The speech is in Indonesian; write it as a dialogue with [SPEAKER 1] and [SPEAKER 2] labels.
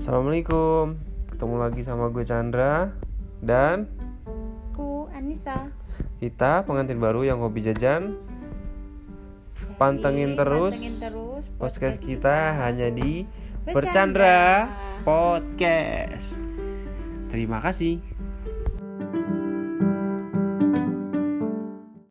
[SPEAKER 1] Assalamualaikum. Ketemu lagi sama gue Chandra dan
[SPEAKER 2] Aku Anissa.
[SPEAKER 1] kita pengantin baru yang hobi jajan. Pantengin
[SPEAKER 2] Jadi,
[SPEAKER 1] terus
[SPEAKER 2] Iya, Pantengin terus
[SPEAKER 1] Podcast kita hanya di
[SPEAKER 2] Bercandra.
[SPEAKER 1] Bercandra Podcast. Terima kasih.